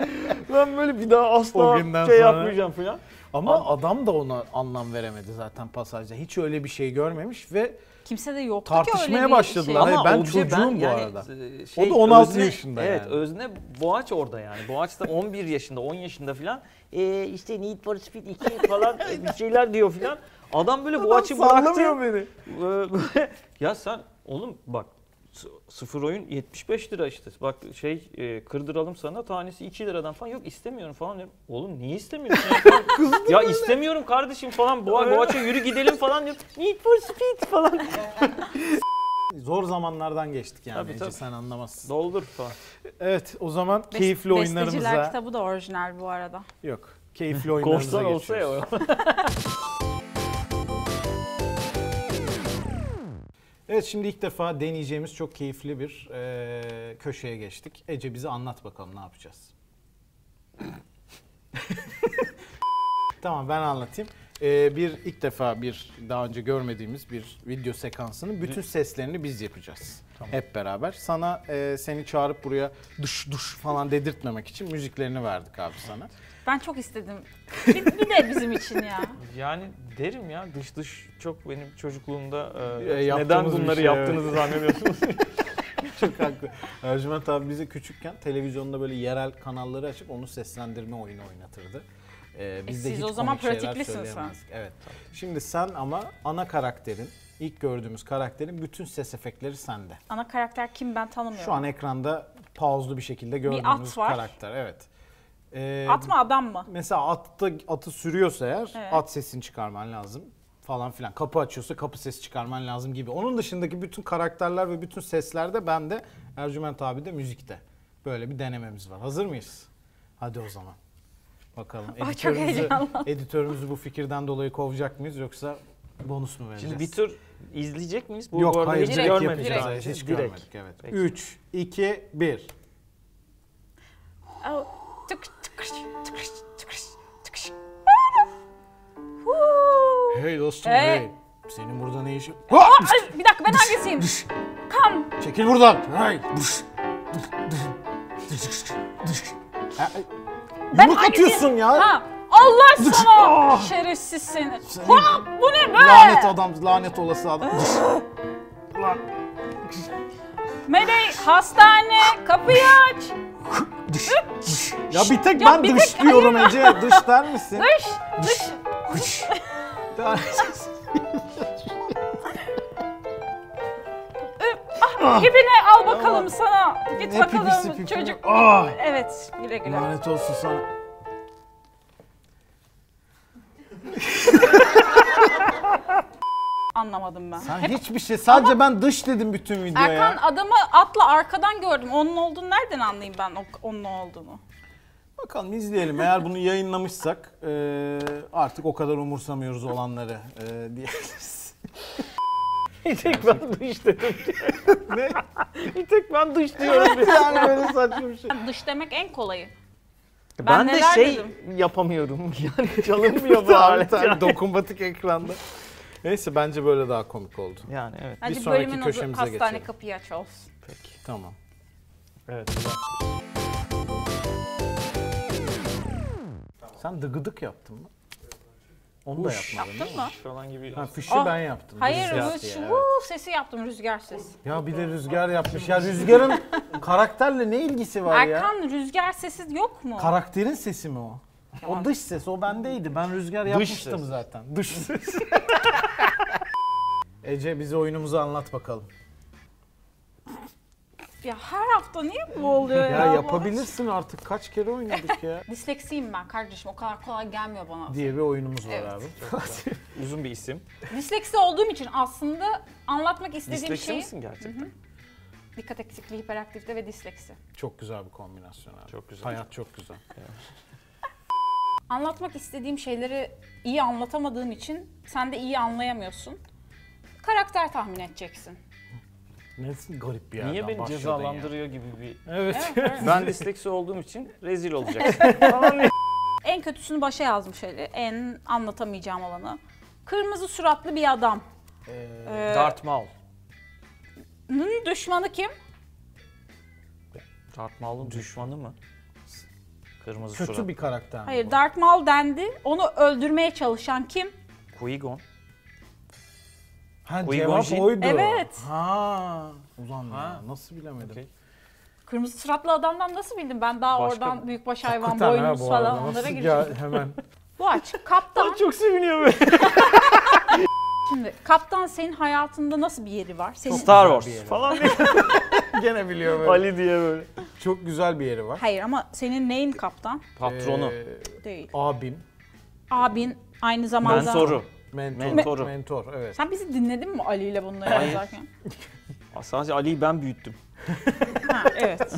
[SPEAKER 4] Ben böyle bir daha
[SPEAKER 2] O
[SPEAKER 4] asla şey
[SPEAKER 2] günden sonra-
[SPEAKER 4] yapmayacağım falan.
[SPEAKER 2] Ama adam da ona anlam veremedi zaten pasajda. Hiç öyle bir şey görmemiş ve
[SPEAKER 3] Kimse de yoktu ki öyle
[SPEAKER 2] Tartışmaya
[SPEAKER 3] bir
[SPEAKER 2] başladılar.
[SPEAKER 3] şey.
[SPEAKER 2] Hayır, ben
[SPEAKER 4] obje-
[SPEAKER 2] çocuğum bu arada.
[SPEAKER 4] e,
[SPEAKER 2] O da 16
[SPEAKER 4] özne-
[SPEAKER 2] yaşında
[SPEAKER 4] Evet
[SPEAKER 2] yani.
[SPEAKER 4] özne Boğaç orada yani. Boğaç da 11 yaşında 10 yaşında falan. E, işte Need for Speed 2 falan bir şeyler diyor falan. Adam böyle Boğaç'ı bıraktı.
[SPEAKER 2] beni.
[SPEAKER 4] Ee, ya sen oğlum bak s- sıfır oyun 75 lira işte. Bak şey e, kırdıralım sana tanesi 2 liradan falan. Yok istemiyorum falan diyorum. Oğlum niye istemiyorsun? ya? ya istemiyorum kardeşim falan. Boğa, boğaça yürü gidelim falan diyor. Need for speed falan.
[SPEAKER 2] Zor zamanlardan geçtik yani
[SPEAKER 4] Tabii,
[SPEAKER 2] Ece,
[SPEAKER 4] tabii.
[SPEAKER 2] sen anlamazsın.
[SPEAKER 4] Doldur falan.
[SPEAKER 2] Evet o zaman
[SPEAKER 3] Bes-
[SPEAKER 2] keyifli
[SPEAKER 3] Besteciler
[SPEAKER 2] oyunlarımıza...
[SPEAKER 3] kitabı da orijinal bu arada.
[SPEAKER 2] Yok keyifli oyunlarımıza
[SPEAKER 4] Korsan olsa ya.
[SPEAKER 2] geçiyoruz.
[SPEAKER 4] o.
[SPEAKER 2] Evet şimdi ilk defa deneyeceğimiz çok keyifli bir eee, köşeye geçtik. Ece bize anlat bakalım ne yapacağız. tamam ben anlatayım. Eee, bir ilk defa bir daha önce görmediğimiz bir video sekansının bütün seslerini biz yapacağız. Hep beraber. Sana eee, seni çağırıp buraya duş duş falan dedirtmemek için müziklerini verdik abi sana.
[SPEAKER 3] Ben çok istedim. Bir, bir de bizim için ya.
[SPEAKER 4] Yani derim ya dış dış çok benim çocukluğumda e,
[SPEAKER 2] E,
[SPEAKER 4] neden
[SPEAKER 2] yaptığımız bir
[SPEAKER 4] bunları
[SPEAKER 2] şey,
[SPEAKER 4] yaptığınızı zannediyorsunuz.
[SPEAKER 2] Çok haklı. Ercüment abi bizi küçükken televizyonda böyle yerel kanalları açıp onu seslendirme oyunu oynatırdı. Ee,
[SPEAKER 3] E, siz o
[SPEAKER 2] komik
[SPEAKER 3] zaman
[SPEAKER 2] şeyler
[SPEAKER 3] pratiklisin sen.
[SPEAKER 2] söyleyemezdik. Evet. Şimdi sen ama ana karakterin, ilk gördüğümüz karakterin bütün ses efektleri sende.
[SPEAKER 3] Ana karakter kim ben tanımıyorum.
[SPEAKER 2] Şu an ekranda pauzlu bir şekilde gördüğümüz
[SPEAKER 3] at var.
[SPEAKER 2] karakter. Evet. Ee,
[SPEAKER 3] At mı adam mı?
[SPEAKER 2] Mesela atta atı sürüyorsa eğer
[SPEAKER 3] Evet.
[SPEAKER 2] at sesini çıkarman lazım falan filan. Kapı açıyorsa kapı sesi çıkarman lazım gibi. Onun dışındaki bütün karakterler ve bütün sesler de bende, Ercüment abi de müzikte. Böyle bir denememiz var. Hazır mıyız? Hadi o zaman. Bakalım
[SPEAKER 3] çok
[SPEAKER 2] editörümüzü,
[SPEAKER 3] heyecanlandım.
[SPEAKER 2] editörümüzü bu fikirden dolayı kovacak mıyız yoksa bonus mu vereceğiz?
[SPEAKER 4] Şimdi bir tür izleyecek miyiz? Bu,
[SPEAKER 2] Yok
[SPEAKER 4] bu arada
[SPEAKER 2] hayır
[SPEAKER 4] hiç
[SPEAKER 2] direkt,
[SPEAKER 4] görmedik.
[SPEAKER 2] yapacağız.
[SPEAKER 4] daha
[SPEAKER 2] Hayır,
[SPEAKER 4] önce.
[SPEAKER 2] Hiç
[SPEAKER 4] Direkt.
[SPEAKER 2] görmedik evet.
[SPEAKER 4] Peki.
[SPEAKER 2] 3, 2, 1.
[SPEAKER 3] Aa, Tıkış tıkış tıkış tıkış tıkış.
[SPEAKER 2] Hey dostum
[SPEAKER 3] Ee?
[SPEAKER 2] hey. Senin burada ne işin?
[SPEAKER 3] Aa, ay, bir dakika ben hangisiyim? Kam.
[SPEAKER 2] Çekil buradan. Hey.
[SPEAKER 3] Ben
[SPEAKER 2] Yumruk
[SPEAKER 3] hangisiyim?
[SPEAKER 2] atıyorsun ya.
[SPEAKER 3] Ha. Allah sana
[SPEAKER 2] Ah.
[SPEAKER 3] şerefsiz seni.
[SPEAKER 2] Seni-
[SPEAKER 3] Hop bu ne be?
[SPEAKER 2] Lanet adam, lanet olası adam. Ulan.
[SPEAKER 3] Melek hastane kapıyı aç.
[SPEAKER 1] Ya bir tek
[SPEAKER 3] Ya
[SPEAKER 1] ben
[SPEAKER 3] bir tek-
[SPEAKER 1] dış diyorum Ece. Dış der misin?
[SPEAKER 3] Dış,
[SPEAKER 1] Dış. Dış. Der-
[SPEAKER 3] Hepine ah, al bakalım sana.
[SPEAKER 1] Ah.
[SPEAKER 3] Git
[SPEAKER 1] Ne
[SPEAKER 3] bakalım
[SPEAKER 1] pipisi pipisi.
[SPEAKER 3] çocuk.
[SPEAKER 1] Ah!
[SPEAKER 3] Evet, güle güle.
[SPEAKER 1] Lanet olsun sana.
[SPEAKER 3] Anlamadım ben.
[SPEAKER 1] Sen hiçbir şey. Sadece ben dış dedim bütün videoya.
[SPEAKER 3] Erkan adamı atla arkadan gördüm. Onun olduğunu nereden anlayayım ben o- onun olduğunu?
[SPEAKER 1] Bakalım izleyelim. Eğer bunu yayınlamışsak eee, artık o kadar umursamıyoruz olanları e, eee diyebiliriz.
[SPEAKER 4] Bir tek ben dış dedim.
[SPEAKER 1] ne?
[SPEAKER 4] Bir tek ben dış diyorum.
[SPEAKER 1] Yani böyle saçma bir şey.
[SPEAKER 3] Dış demek en kolayı.
[SPEAKER 4] Ben,
[SPEAKER 3] Ben
[SPEAKER 4] de
[SPEAKER 3] neler
[SPEAKER 4] şey
[SPEAKER 3] dedim?
[SPEAKER 4] yapamıyorum. Yani çalınmıyor bu
[SPEAKER 1] Tabii,
[SPEAKER 4] alet.
[SPEAKER 1] tabii,
[SPEAKER 4] yani.
[SPEAKER 1] dokunmatik ekranda. Neyse bence böyle daha komik oldu.
[SPEAKER 4] Yani evet.
[SPEAKER 3] Hadi
[SPEAKER 1] sonraki
[SPEAKER 3] bölümün adı
[SPEAKER 1] köşemize
[SPEAKER 3] hastane
[SPEAKER 1] geçelim.
[SPEAKER 3] kapıyı aç olsun.
[SPEAKER 4] Peki.
[SPEAKER 1] Tamam.
[SPEAKER 4] Evet. güzel.
[SPEAKER 1] Sen de gıdık yaptın mı? Onu da
[SPEAKER 4] Uş.
[SPEAKER 1] yapmadın.
[SPEAKER 3] Değil mi?
[SPEAKER 4] Falan gibi.
[SPEAKER 1] Ha fişi
[SPEAKER 3] Ah,
[SPEAKER 1] ben yaptım.
[SPEAKER 3] Hayır,
[SPEAKER 1] rüzgar
[SPEAKER 3] bu
[SPEAKER 1] diye,
[SPEAKER 3] şu
[SPEAKER 1] evet.
[SPEAKER 3] sesi yaptım rüzgar sesi.
[SPEAKER 1] Ya bir de rüzgar yapmış. Ya rüzgarın karakterle ne ilgisi var ya?
[SPEAKER 3] Erkan rüzgar sesi yok mu?
[SPEAKER 1] Karakterin sesi mi o? O dış ses, o bendeydi. Ben rüzgar yapmıştım
[SPEAKER 4] ses.
[SPEAKER 1] zaten. Dış ses. Ece bize oyunumuzu anlat bakalım.
[SPEAKER 3] ya her hafta niye bu oluyor ya?
[SPEAKER 1] Ya yapabilirsin artık kaç kere oynadık ya
[SPEAKER 3] Disleksiyim ben kardeşim o kadar kolay gelmiyor bana.
[SPEAKER 1] diye bir oyunumuz var
[SPEAKER 3] Evet.
[SPEAKER 1] abi.
[SPEAKER 4] Uzun bir isim.
[SPEAKER 3] Disleksi olduğum için aslında anlatmak istediğim
[SPEAKER 4] Disleksi
[SPEAKER 3] şey
[SPEAKER 4] misin gerçekten?
[SPEAKER 3] dikkat eksikliği, hiperaktifte ve disleksi.
[SPEAKER 1] Çok güzel bir kombinasyon abi.
[SPEAKER 4] Çok güzel.
[SPEAKER 1] Hayat çok güzel.
[SPEAKER 3] Anlatmak istediğim şeyleri iyi anlatamadığım için sen de iyi anlayamıyorsun. Karakter tahmin edeceksin.
[SPEAKER 1] Nasıl garip bir yerden
[SPEAKER 4] Niye beni
[SPEAKER 1] başladın ya?
[SPEAKER 4] cezalandırıyor gibi bir...
[SPEAKER 1] Evet.
[SPEAKER 4] Ben disleksi olduğum için rezil olacaksın. Ee,
[SPEAKER 3] En kötüsünü başa yazmış öyle. En anlatamayacağım olanı. Kırmızı suratlı bir adam. Ee,
[SPEAKER 4] Darth Maul.
[SPEAKER 3] Nun düşmanı kim?
[SPEAKER 4] Darth Maul'un düşmanı mı? Kırmızı
[SPEAKER 1] Kötü
[SPEAKER 4] surat.
[SPEAKER 1] bir karakter mi
[SPEAKER 3] Hayır,
[SPEAKER 1] bu?
[SPEAKER 3] Darth Maul dendi. Onu öldürmeye çalışan kim?
[SPEAKER 4] Qui-Gon.
[SPEAKER 1] Ha,
[SPEAKER 4] Qui-Gon
[SPEAKER 1] cevap
[SPEAKER 4] Jinn.
[SPEAKER 1] oydu.
[SPEAKER 3] Evet.
[SPEAKER 1] Ha. Ulan
[SPEAKER 4] Ha.
[SPEAKER 1] ya nasıl bilemedim.
[SPEAKER 4] Okey.
[SPEAKER 3] Kırmızı suratlı adamdan nasıl bildim ben? Daha
[SPEAKER 4] Başka
[SPEAKER 3] oradan
[SPEAKER 4] mı?
[SPEAKER 3] büyükbaş hayvan,
[SPEAKER 1] Hakikaten ha
[SPEAKER 3] boynuz
[SPEAKER 1] bu
[SPEAKER 3] falan
[SPEAKER 1] arada.
[SPEAKER 3] onlara
[SPEAKER 1] Nasıl
[SPEAKER 3] gireceğim.
[SPEAKER 1] gel- hemen.
[SPEAKER 3] Bu aç. Kaptan.
[SPEAKER 4] Çok seviniyor böyle.
[SPEAKER 3] Şimdi kaptan senin hayatında nasıl bir yeri var? Senin...
[SPEAKER 4] Star
[SPEAKER 1] bir
[SPEAKER 4] Wars
[SPEAKER 1] yere.
[SPEAKER 4] falan diye.
[SPEAKER 1] Gene biliyor böyle.
[SPEAKER 4] Ali diye böyle.
[SPEAKER 1] Çok güzel bir yeri var.
[SPEAKER 3] Hayır ama senin neyin kaptan?
[SPEAKER 4] Patronu.
[SPEAKER 1] Ee,
[SPEAKER 3] Değil.
[SPEAKER 1] abim.
[SPEAKER 3] Abin aynı zamanda...
[SPEAKER 4] Mentoru.
[SPEAKER 1] Mentor.
[SPEAKER 4] Mentoru.
[SPEAKER 1] Mentor evet.
[SPEAKER 3] Sen bizi dinledin mi Ali ile bunları
[SPEAKER 4] Hayır.
[SPEAKER 3] yazarken?
[SPEAKER 4] Aa, Sadece Ali'yi ben büyüttüm.
[SPEAKER 3] ha, evet.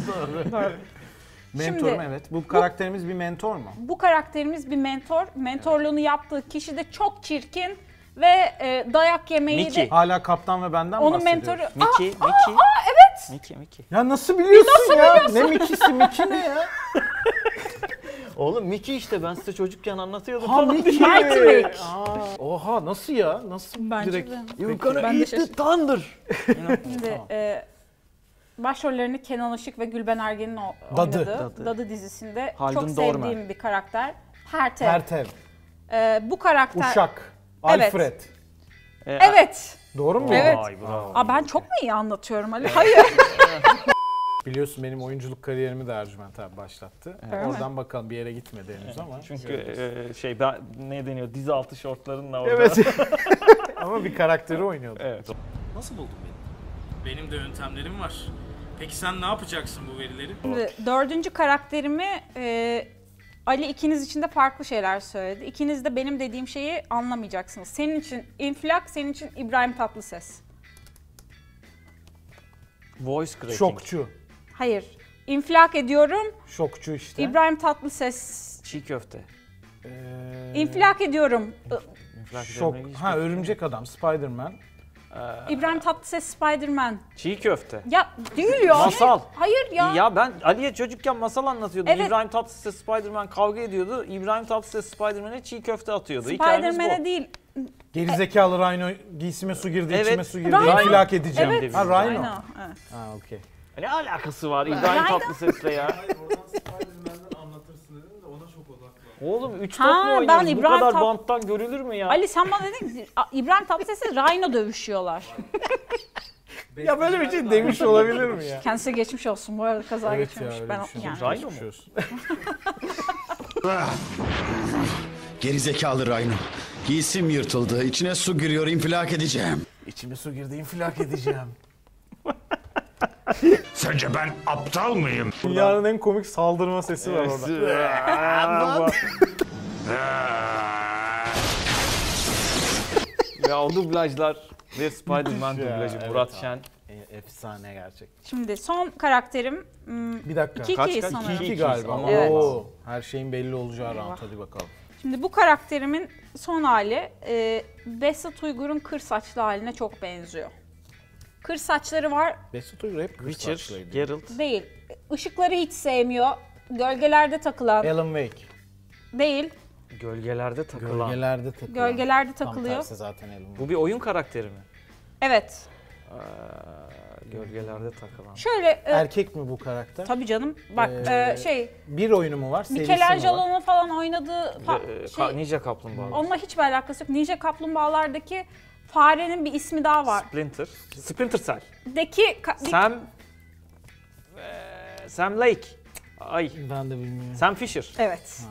[SPEAKER 1] Mentorum
[SPEAKER 3] Şimdi-
[SPEAKER 1] evet. Bu karakterimiz bir mentor mu?
[SPEAKER 3] Bu karakterimiz bir mentor. Mentorluğunu yaptığı kişi de çok çirkin ve e, dayak yemeyi de...
[SPEAKER 4] Mickey.
[SPEAKER 1] Hala kaptan ve benden
[SPEAKER 3] Onun
[SPEAKER 1] bahsediyoruz.
[SPEAKER 3] mentoru...
[SPEAKER 4] Mickey,
[SPEAKER 3] Aa,
[SPEAKER 4] Mickey.
[SPEAKER 3] aa, evet.
[SPEAKER 4] Mickey, Mickey.
[SPEAKER 1] Ya nasıl biliyorsun ya? Ne Mickey'si Mickey ne ya?
[SPEAKER 4] Oğlum Mickey işte ben size çocukken anlatıyordum.
[SPEAKER 1] Ha Mickey.
[SPEAKER 3] Mighty Mickey.
[SPEAKER 1] Aa, Oha nasıl ya? Nasıl
[SPEAKER 3] Bence
[SPEAKER 1] direkt?
[SPEAKER 3] de.
[SPEAKER 1] Peki.
[SPEAKER 3] Ben de şaşırdım.
[SPEAKER 4] Tandır.
[SPEAKER 3] Şimdi e, başrollerini Kenan Işık ve Gülben Ergen'in o-
[SPEAKER 1] Dadı.
[SPEAKER 3] oynadığı Dadı,
[SPEAKER 4] Dadı.
[SPEAKER 3] dizisinde
[SPEAKER 4] Haldun
[SPEAKER 3] çok
[SPEAKER 4] Dorman.
[SPEAKER 3] sevdiğim bir karakter. Pertev.
[SPEAKER 1] Pertev,
[SPEAKER 3] E, bu karakter...
[SPEAKER 1] Uşak,
[SPEAKER 3] Evet.
[SPEAKER 1] Alfred.
[SPEAKER 3] Evet.
[SPEAKER 1] Doğru mu?
[SPEAKER 3] Evet.
[SPEAKER 4] Vay bravo.
[SPEAKER 3] Aa, ben çok mu iyi anlatıyorum Ali? Hayır.
[SPEAKER 1] Biliyorsun benim oyunculuk kariyerimi de Ercüment abi başlattı.
[SPEAKER 3] Öyle mi?
[SPEAKER 1] Oradan bakalım bir yere gitmedi henüz ama.
[SPEAKER 4] Çünkü e, şey ben, ne deniyor dizi altı şortlarınla orada.
[SPEAKER 1] Evet. ama bir karakteri oynuyordu.
[SPEAKER 4] evet.
[SPEAKER 5] Nasıl buldun beni? Benim de yöntemlerim var. Peki sen ne yapacaksın bu verileri?
[SPEAKER 3] Şimdi dördüncü karakterimi e, Ali ikiniz için de farklı şeyler söyledi. İkiniz de benim dediğim şeyi anlamayacaksınız. Senin için infilak, senin için İbrahim Tatlıses.
[SPEAKER 4] Voice cracking.
[SPEAKER 1] Şokçu.
[SPEAKER 3] Hayır. infilak ediyorum.
[SPEAKER 1] Şokçu işte.
[SPEAKER 3] İbrahim Tatlıses.
[SPEAKER 4] Çiğ köfte.
[SPEAKER 1] Ee,
[SPEAKER 3] İnfilak ediyorum.
[SPEAKER 4] İnfilak
[SPEAKER 1] Şok.
[SPEAKER 4] üzerine hiç
[SPEAKER 1] Ha
[SPEAKER 4] bir-
[SPEAKER 1] örümcek adam Spider-Man.
[SPEAKER 3] Ee, İbrahim Tatlıses Spider-Man.
[SPEAKER 4] Çiğ köfte.
[SPEAKER 3] Ya değil ya.
[SPEAKER 4] Masal.
[SPEAKER 3] Hayır ya.
[SPEAKER 4] Ya. ben Ali'ye çocukken masal anlatıyordum.
[SPEAKER 3] Evet.
[SPEAKER 4] İbrahim Tatlıses Spider-Man kavga ediyordu. İbrahim Tatlıses Spider-Man'e çiğ köfte atıyordu. Hikayemiz
[SPEAKER 3] Spider-Man'e
[SPEAKER 4] bu.
[SPEAKER 3] değil.
[SPEAKER 1] Gerizekalı Rhino giysime su girdi,
[SPEAKER 4] Evet.
[SPEAKER 1] içime su girdi.
[SPEAKER 4] Rhino.
[SPEAKER 1] infilak edeceğim.
[SPEAKER 4] Evet.
[SPEAKER 1] Ha Rhino.
[SPEAKER 3] Aynen. Evet.
[SPEAKER 1] Ha okey.
[SPEAKER 4] Ne alakası var İbrahim
[SPEAKER 3] Rhino.
[SPEAKER 4] Tatlıses'le ya?
[SPEAKER 6] Oradan Spider-Man'den anlatırsın dedim de ona çok odaklandım.
[SPEAKER 4] Oğlum 3
[SPEAKER 3] Ha,
[SPEAKER 4] top mu oynuyoruz?
[SPEAKER 3] ben
[SPEAKER 4] Bu
[SPEAKER 3] İbrahim
[SPEAKER 4] kadar
[SPEAKER 3] Tat-
[SPEAKER 4] banttan görülür mü ya?
[SPEAKER 3] Ali sen bana dedin ki, "A- İbrahim Tatlıses'le Rhino dövüşüyorlar.
[SPEAKER 4] Ya böyle bir şey demiş olabilir mi ya?
[SPEAKER 3] Kendisi geçmiş olsun bu arada kaza geçirmiş. ben yani.
[SPEAKER 4] Rhino mu?
[SPEAKER 7] Gerizekalı Rhino. Giysim yırtıldı. İçine su giriyor. infilak edeceğim.
[SPEAKER 8] İçime su girdi infilak edeceğim.
[SPEAKER 9] Sence ben aptal mıyım?
[SPEAKER 1] Dünyanın en komik saldırma sesi var orada.
[SPEAKER 4] ya o dublajlar ve Spider-Man
[SPEAKER 1] Müthiş ya,
[SPEAKER 4] dublajı
[SPEAKER 1] evet
[SPEAKER 4] Murat
[SPEAKER 1] abi.
[SPEAKER 4] Şen.
[SPEAKER 1] E, efsane gerçek.
[SPEAKER 3] Şimdi son karakterim hmm,
[SPEAKER 1] Bir dakika.
[SPEAKER 3] İki- ikiyi sanırım.
[SPEAKER 1] İki galiba.
[SPEAKER 4] Ama
[SPEAKER 3] Evet.
[SPEAKER 1] Oo, her şeyin belli olacağı round. Hadi bakalım.
[SPEAKER 3] Şimdi bu karakterimin son hali e, Behzat Uygur'un kır saçlı haline çok benziyor. Kır saçları var
[SPEAKER 1] Mesut Uygur hep kısa
[SPEAKER 4] Witcher,
[SPEAKER 1] saçlıydı.
[SPEAKER 4] Geralt.
[SPEAKER 3] değil. Işıkları hiç sevmiyor. Gölgelerde takılan
[SPEAKER 1] Alan Wake.
[SPEAKER 3] değil.
[SPEAKER 4] Gölgelerde takılan.
[SPEAKER 1] Gölgelerde takılıyor.
[SPEAKER 3] Gölgelerde
[SPEAKER 1] Tam
[SPEAKER 3] takılıyor.
[SPEAKER 1] tersi zaten Alan Wake.
[SPEAKER 4] Bu bir oyun karakteri mi?
[SPEAKER 3] Evet.
[SPEAKER 4] Aa, gölgelerde takılan.
[SPEAKER 3] Şöyle e,
[SPEAKER 1] Erkek mi bu karakter?
[SPEAKER 3] tabii canım bak
[SPEAKER 1] Ee,
[SPEAKER 3] e, şey
[SPEAKER 1] Bir oyunu mu var? Serisi mi var?
[SPEAKER 3] Michelangelo'nun falan oynadığı fa-
[SPEAKER 4] Ee, ka-
[SPEAKER 3] şey,
[SPEAKER 4] Ninja Kaplumbağa.
[SPEAKER 3] onunla hiçbir alakası yok. Ninja Kaplumbağalardaki farenin bir ismi daha var.
[SPEAKER 4] Splinter. Splinter Cell.
[SPEAKER 3] Deki ka- bir-
[SPEAKER 4] Sam... Ee, Sam Lake. Ay.
[SPEAKER 1] Ben de bilmiyorum.
[SPEAKER 4] Sam Fisher.
[SPEAKER 3] Evet.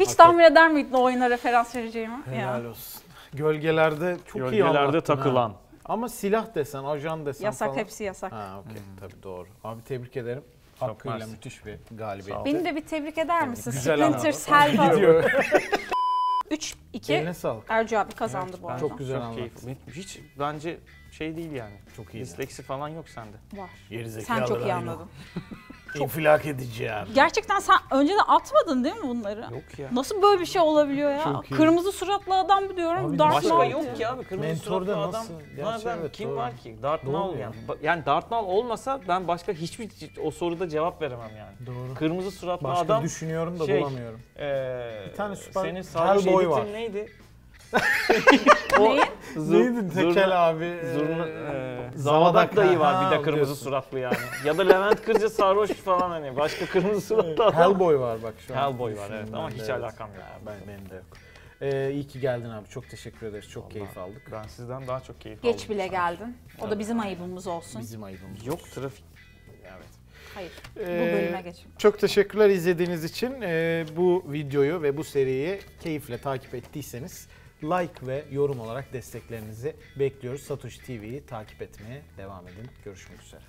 [SPEAKER 3] Hiç tahmin eder miydin o oyuna referans vereceğimi?
[SPEAKER 1] Helal olsun. Gölgelerde çok iyi anlattın
[SPEAKER 4] Gölgelerde
[SPEAKER 1] ha.
[SPEAKER 4] takılan.
[SPEAKER 1] Ama silah desen, ajan desen
[SPEAKER 3] Yasak
[SPEAKER 1] falan.
[SPEAKER 3] hepsi yasak.
[SPEAKER 1] Ha okey tabii doğru. Abi tebrik ederim. Hakkıyla
[SPEAKER 4] mersi.
[SPEAKER 1] müthiş bir galibiyet.
[SPEAKER 3] Beni de bir tebrik eder misin?
[SPEAKER 1] Güzel
[SPEAKER 3] Splinter Cell falan.
[SPEAKER 1] Gidiyor.
[SPEAKER 3] 3-2
[SPEAKER 1] Eline sağlık.
[SPEAKER 3] Ercü abi kazandı bu arada.
[SPEAKER 1] Çok güzel
[SPEAKER 4] Çok
[SPEAKER 1] anlattın.
[SPEAKER 4] keyifli. Hiç bence şey değil yani.
[SPEAKER 8] Çok iyi.
[SPEAKER 4] Disleksi falan yok sende.
[SPEAKER 3] Var.
[SPEAKER 8] Gerizekalı
[SPEAKER 3] Sen çok iyi
[SPEAKER 8] Rhino.
[SPEAKER 3] anladın.
[SPEAKER 8] İnfilak edeceğim.
[SPEAKER 3] Gerçekten sen önceden atmadın değil mi bunları?
[SPEAKER 4] Yok ya.
[SPEAKER 3] Nasıl böyle bir şey olabiliyor ya?
[SPEAKER 1] Çok iyi.
[SPEAKER 3] Kırmızı suratlı adam diyorum.
[SPEAKER 1] Abi
[SPEAKER 3] Darth
[SPEAKER 1] nasıl-
[SPEAKER 3] Maul.
[SPEAKER 4] Başka yok ki abi. Kırmızı
[SPEAKER 1] Mentor da
[SPEAKER 4] suratlı adam.
[SPEAKER 1] nasıl? Gerçi
[SPEAKER 4] Nereden?
[SPEAKER 1] evet,
[SPEAKER 4] Kim
[SPEAKER 1] doğru.
[SPEAKER 4] var ki? Darth
[SPEAKER 1] Doğru
[SPEAKER 4] Maul
[SPEAKER 1] ya.
[SPEAKER 4] yani. Ba- Yani Darth Maul olmasa ben başka hiçbir o soruda cevap veremem yani.
[SPEAKER 1] Doğru.
[SPEAKER 4] Kırmızı suratlı
[SPEAKER 1] Başka
[SPEAKER 4] adam.
[SPEAKER 1] düşünüyorum da
[SPEAKER 4] şey-
[SPEAKER 1] bulamıyorum.
[SPEAKER 4] eee,
[SPEAKER 1] Bir tane süper
[SPEAKER 4] Senin sarhoş
[SPEAKER 1] Hellboy
[SPEAKER 4] editin
[SPEAKER 1] var.
[SPEAKER 4] neydi?
[SPEAKER 3] Neyi?
[SPEAKER 4] Zur-
[SPEAKER 1] Neydi
[SPEAKER 4] zurna-
[SPEAKER 1] tekel abi?
[SPEAKER 4] Zurna,
[SPEAKER 1] Ee,
[SPEAKER 4] eee, Zavadak dayı var
[SPEAKER 1] ha,
[SPEAKER 4] bir de kırmızı
[SPEAKER 1] biliyorsun.
[SPEAKER 4] suratlı yani. ya da Levent Kırca sarhoş falan hani başka kırmızı suratlı adam.
[SPEAKER 1] Hellboy var bak şu an.
[SPEAKER 4] Hellboy var evet
[SPEAKER 1] Düşündüm
[SPEAKER 4] ama
[SPEAKER 1] ben de,
[SPEAKER 4] hiç
[SPEAKER 1] evet.
[SPEAKER 4] alakam yok.
[SPEAKER 1] Ben, benim de yok. Ee, iyi ki geldin abi. Çok teşekkür ederiz. Çok keyif aldık.
[SPEAKER 4] Ben sizden daha çok keyif aldım.
[SPEAKER 3] Geç bile geldin. O da bizim ayıbımız olsun.
[SPEAKER 1] Bizim ayıbımız.
[SPEAKER 4] Yok trafik.
[SPEAKER 3] Hayır. Bu
[SPEAKER 1] Ee,
[SPEAKER 3] bölüme geçin.
[SPEAKER 1] Çok teşekkürler izlediğiniz için. Ee, bu videoyu ve bu seriyi keyifle takip ettiyseniz like ve yorum olarak desteklerinizi bekliyoruz. Satoshi TV'yi takip etmeye devam edin. Görüşmek üzere.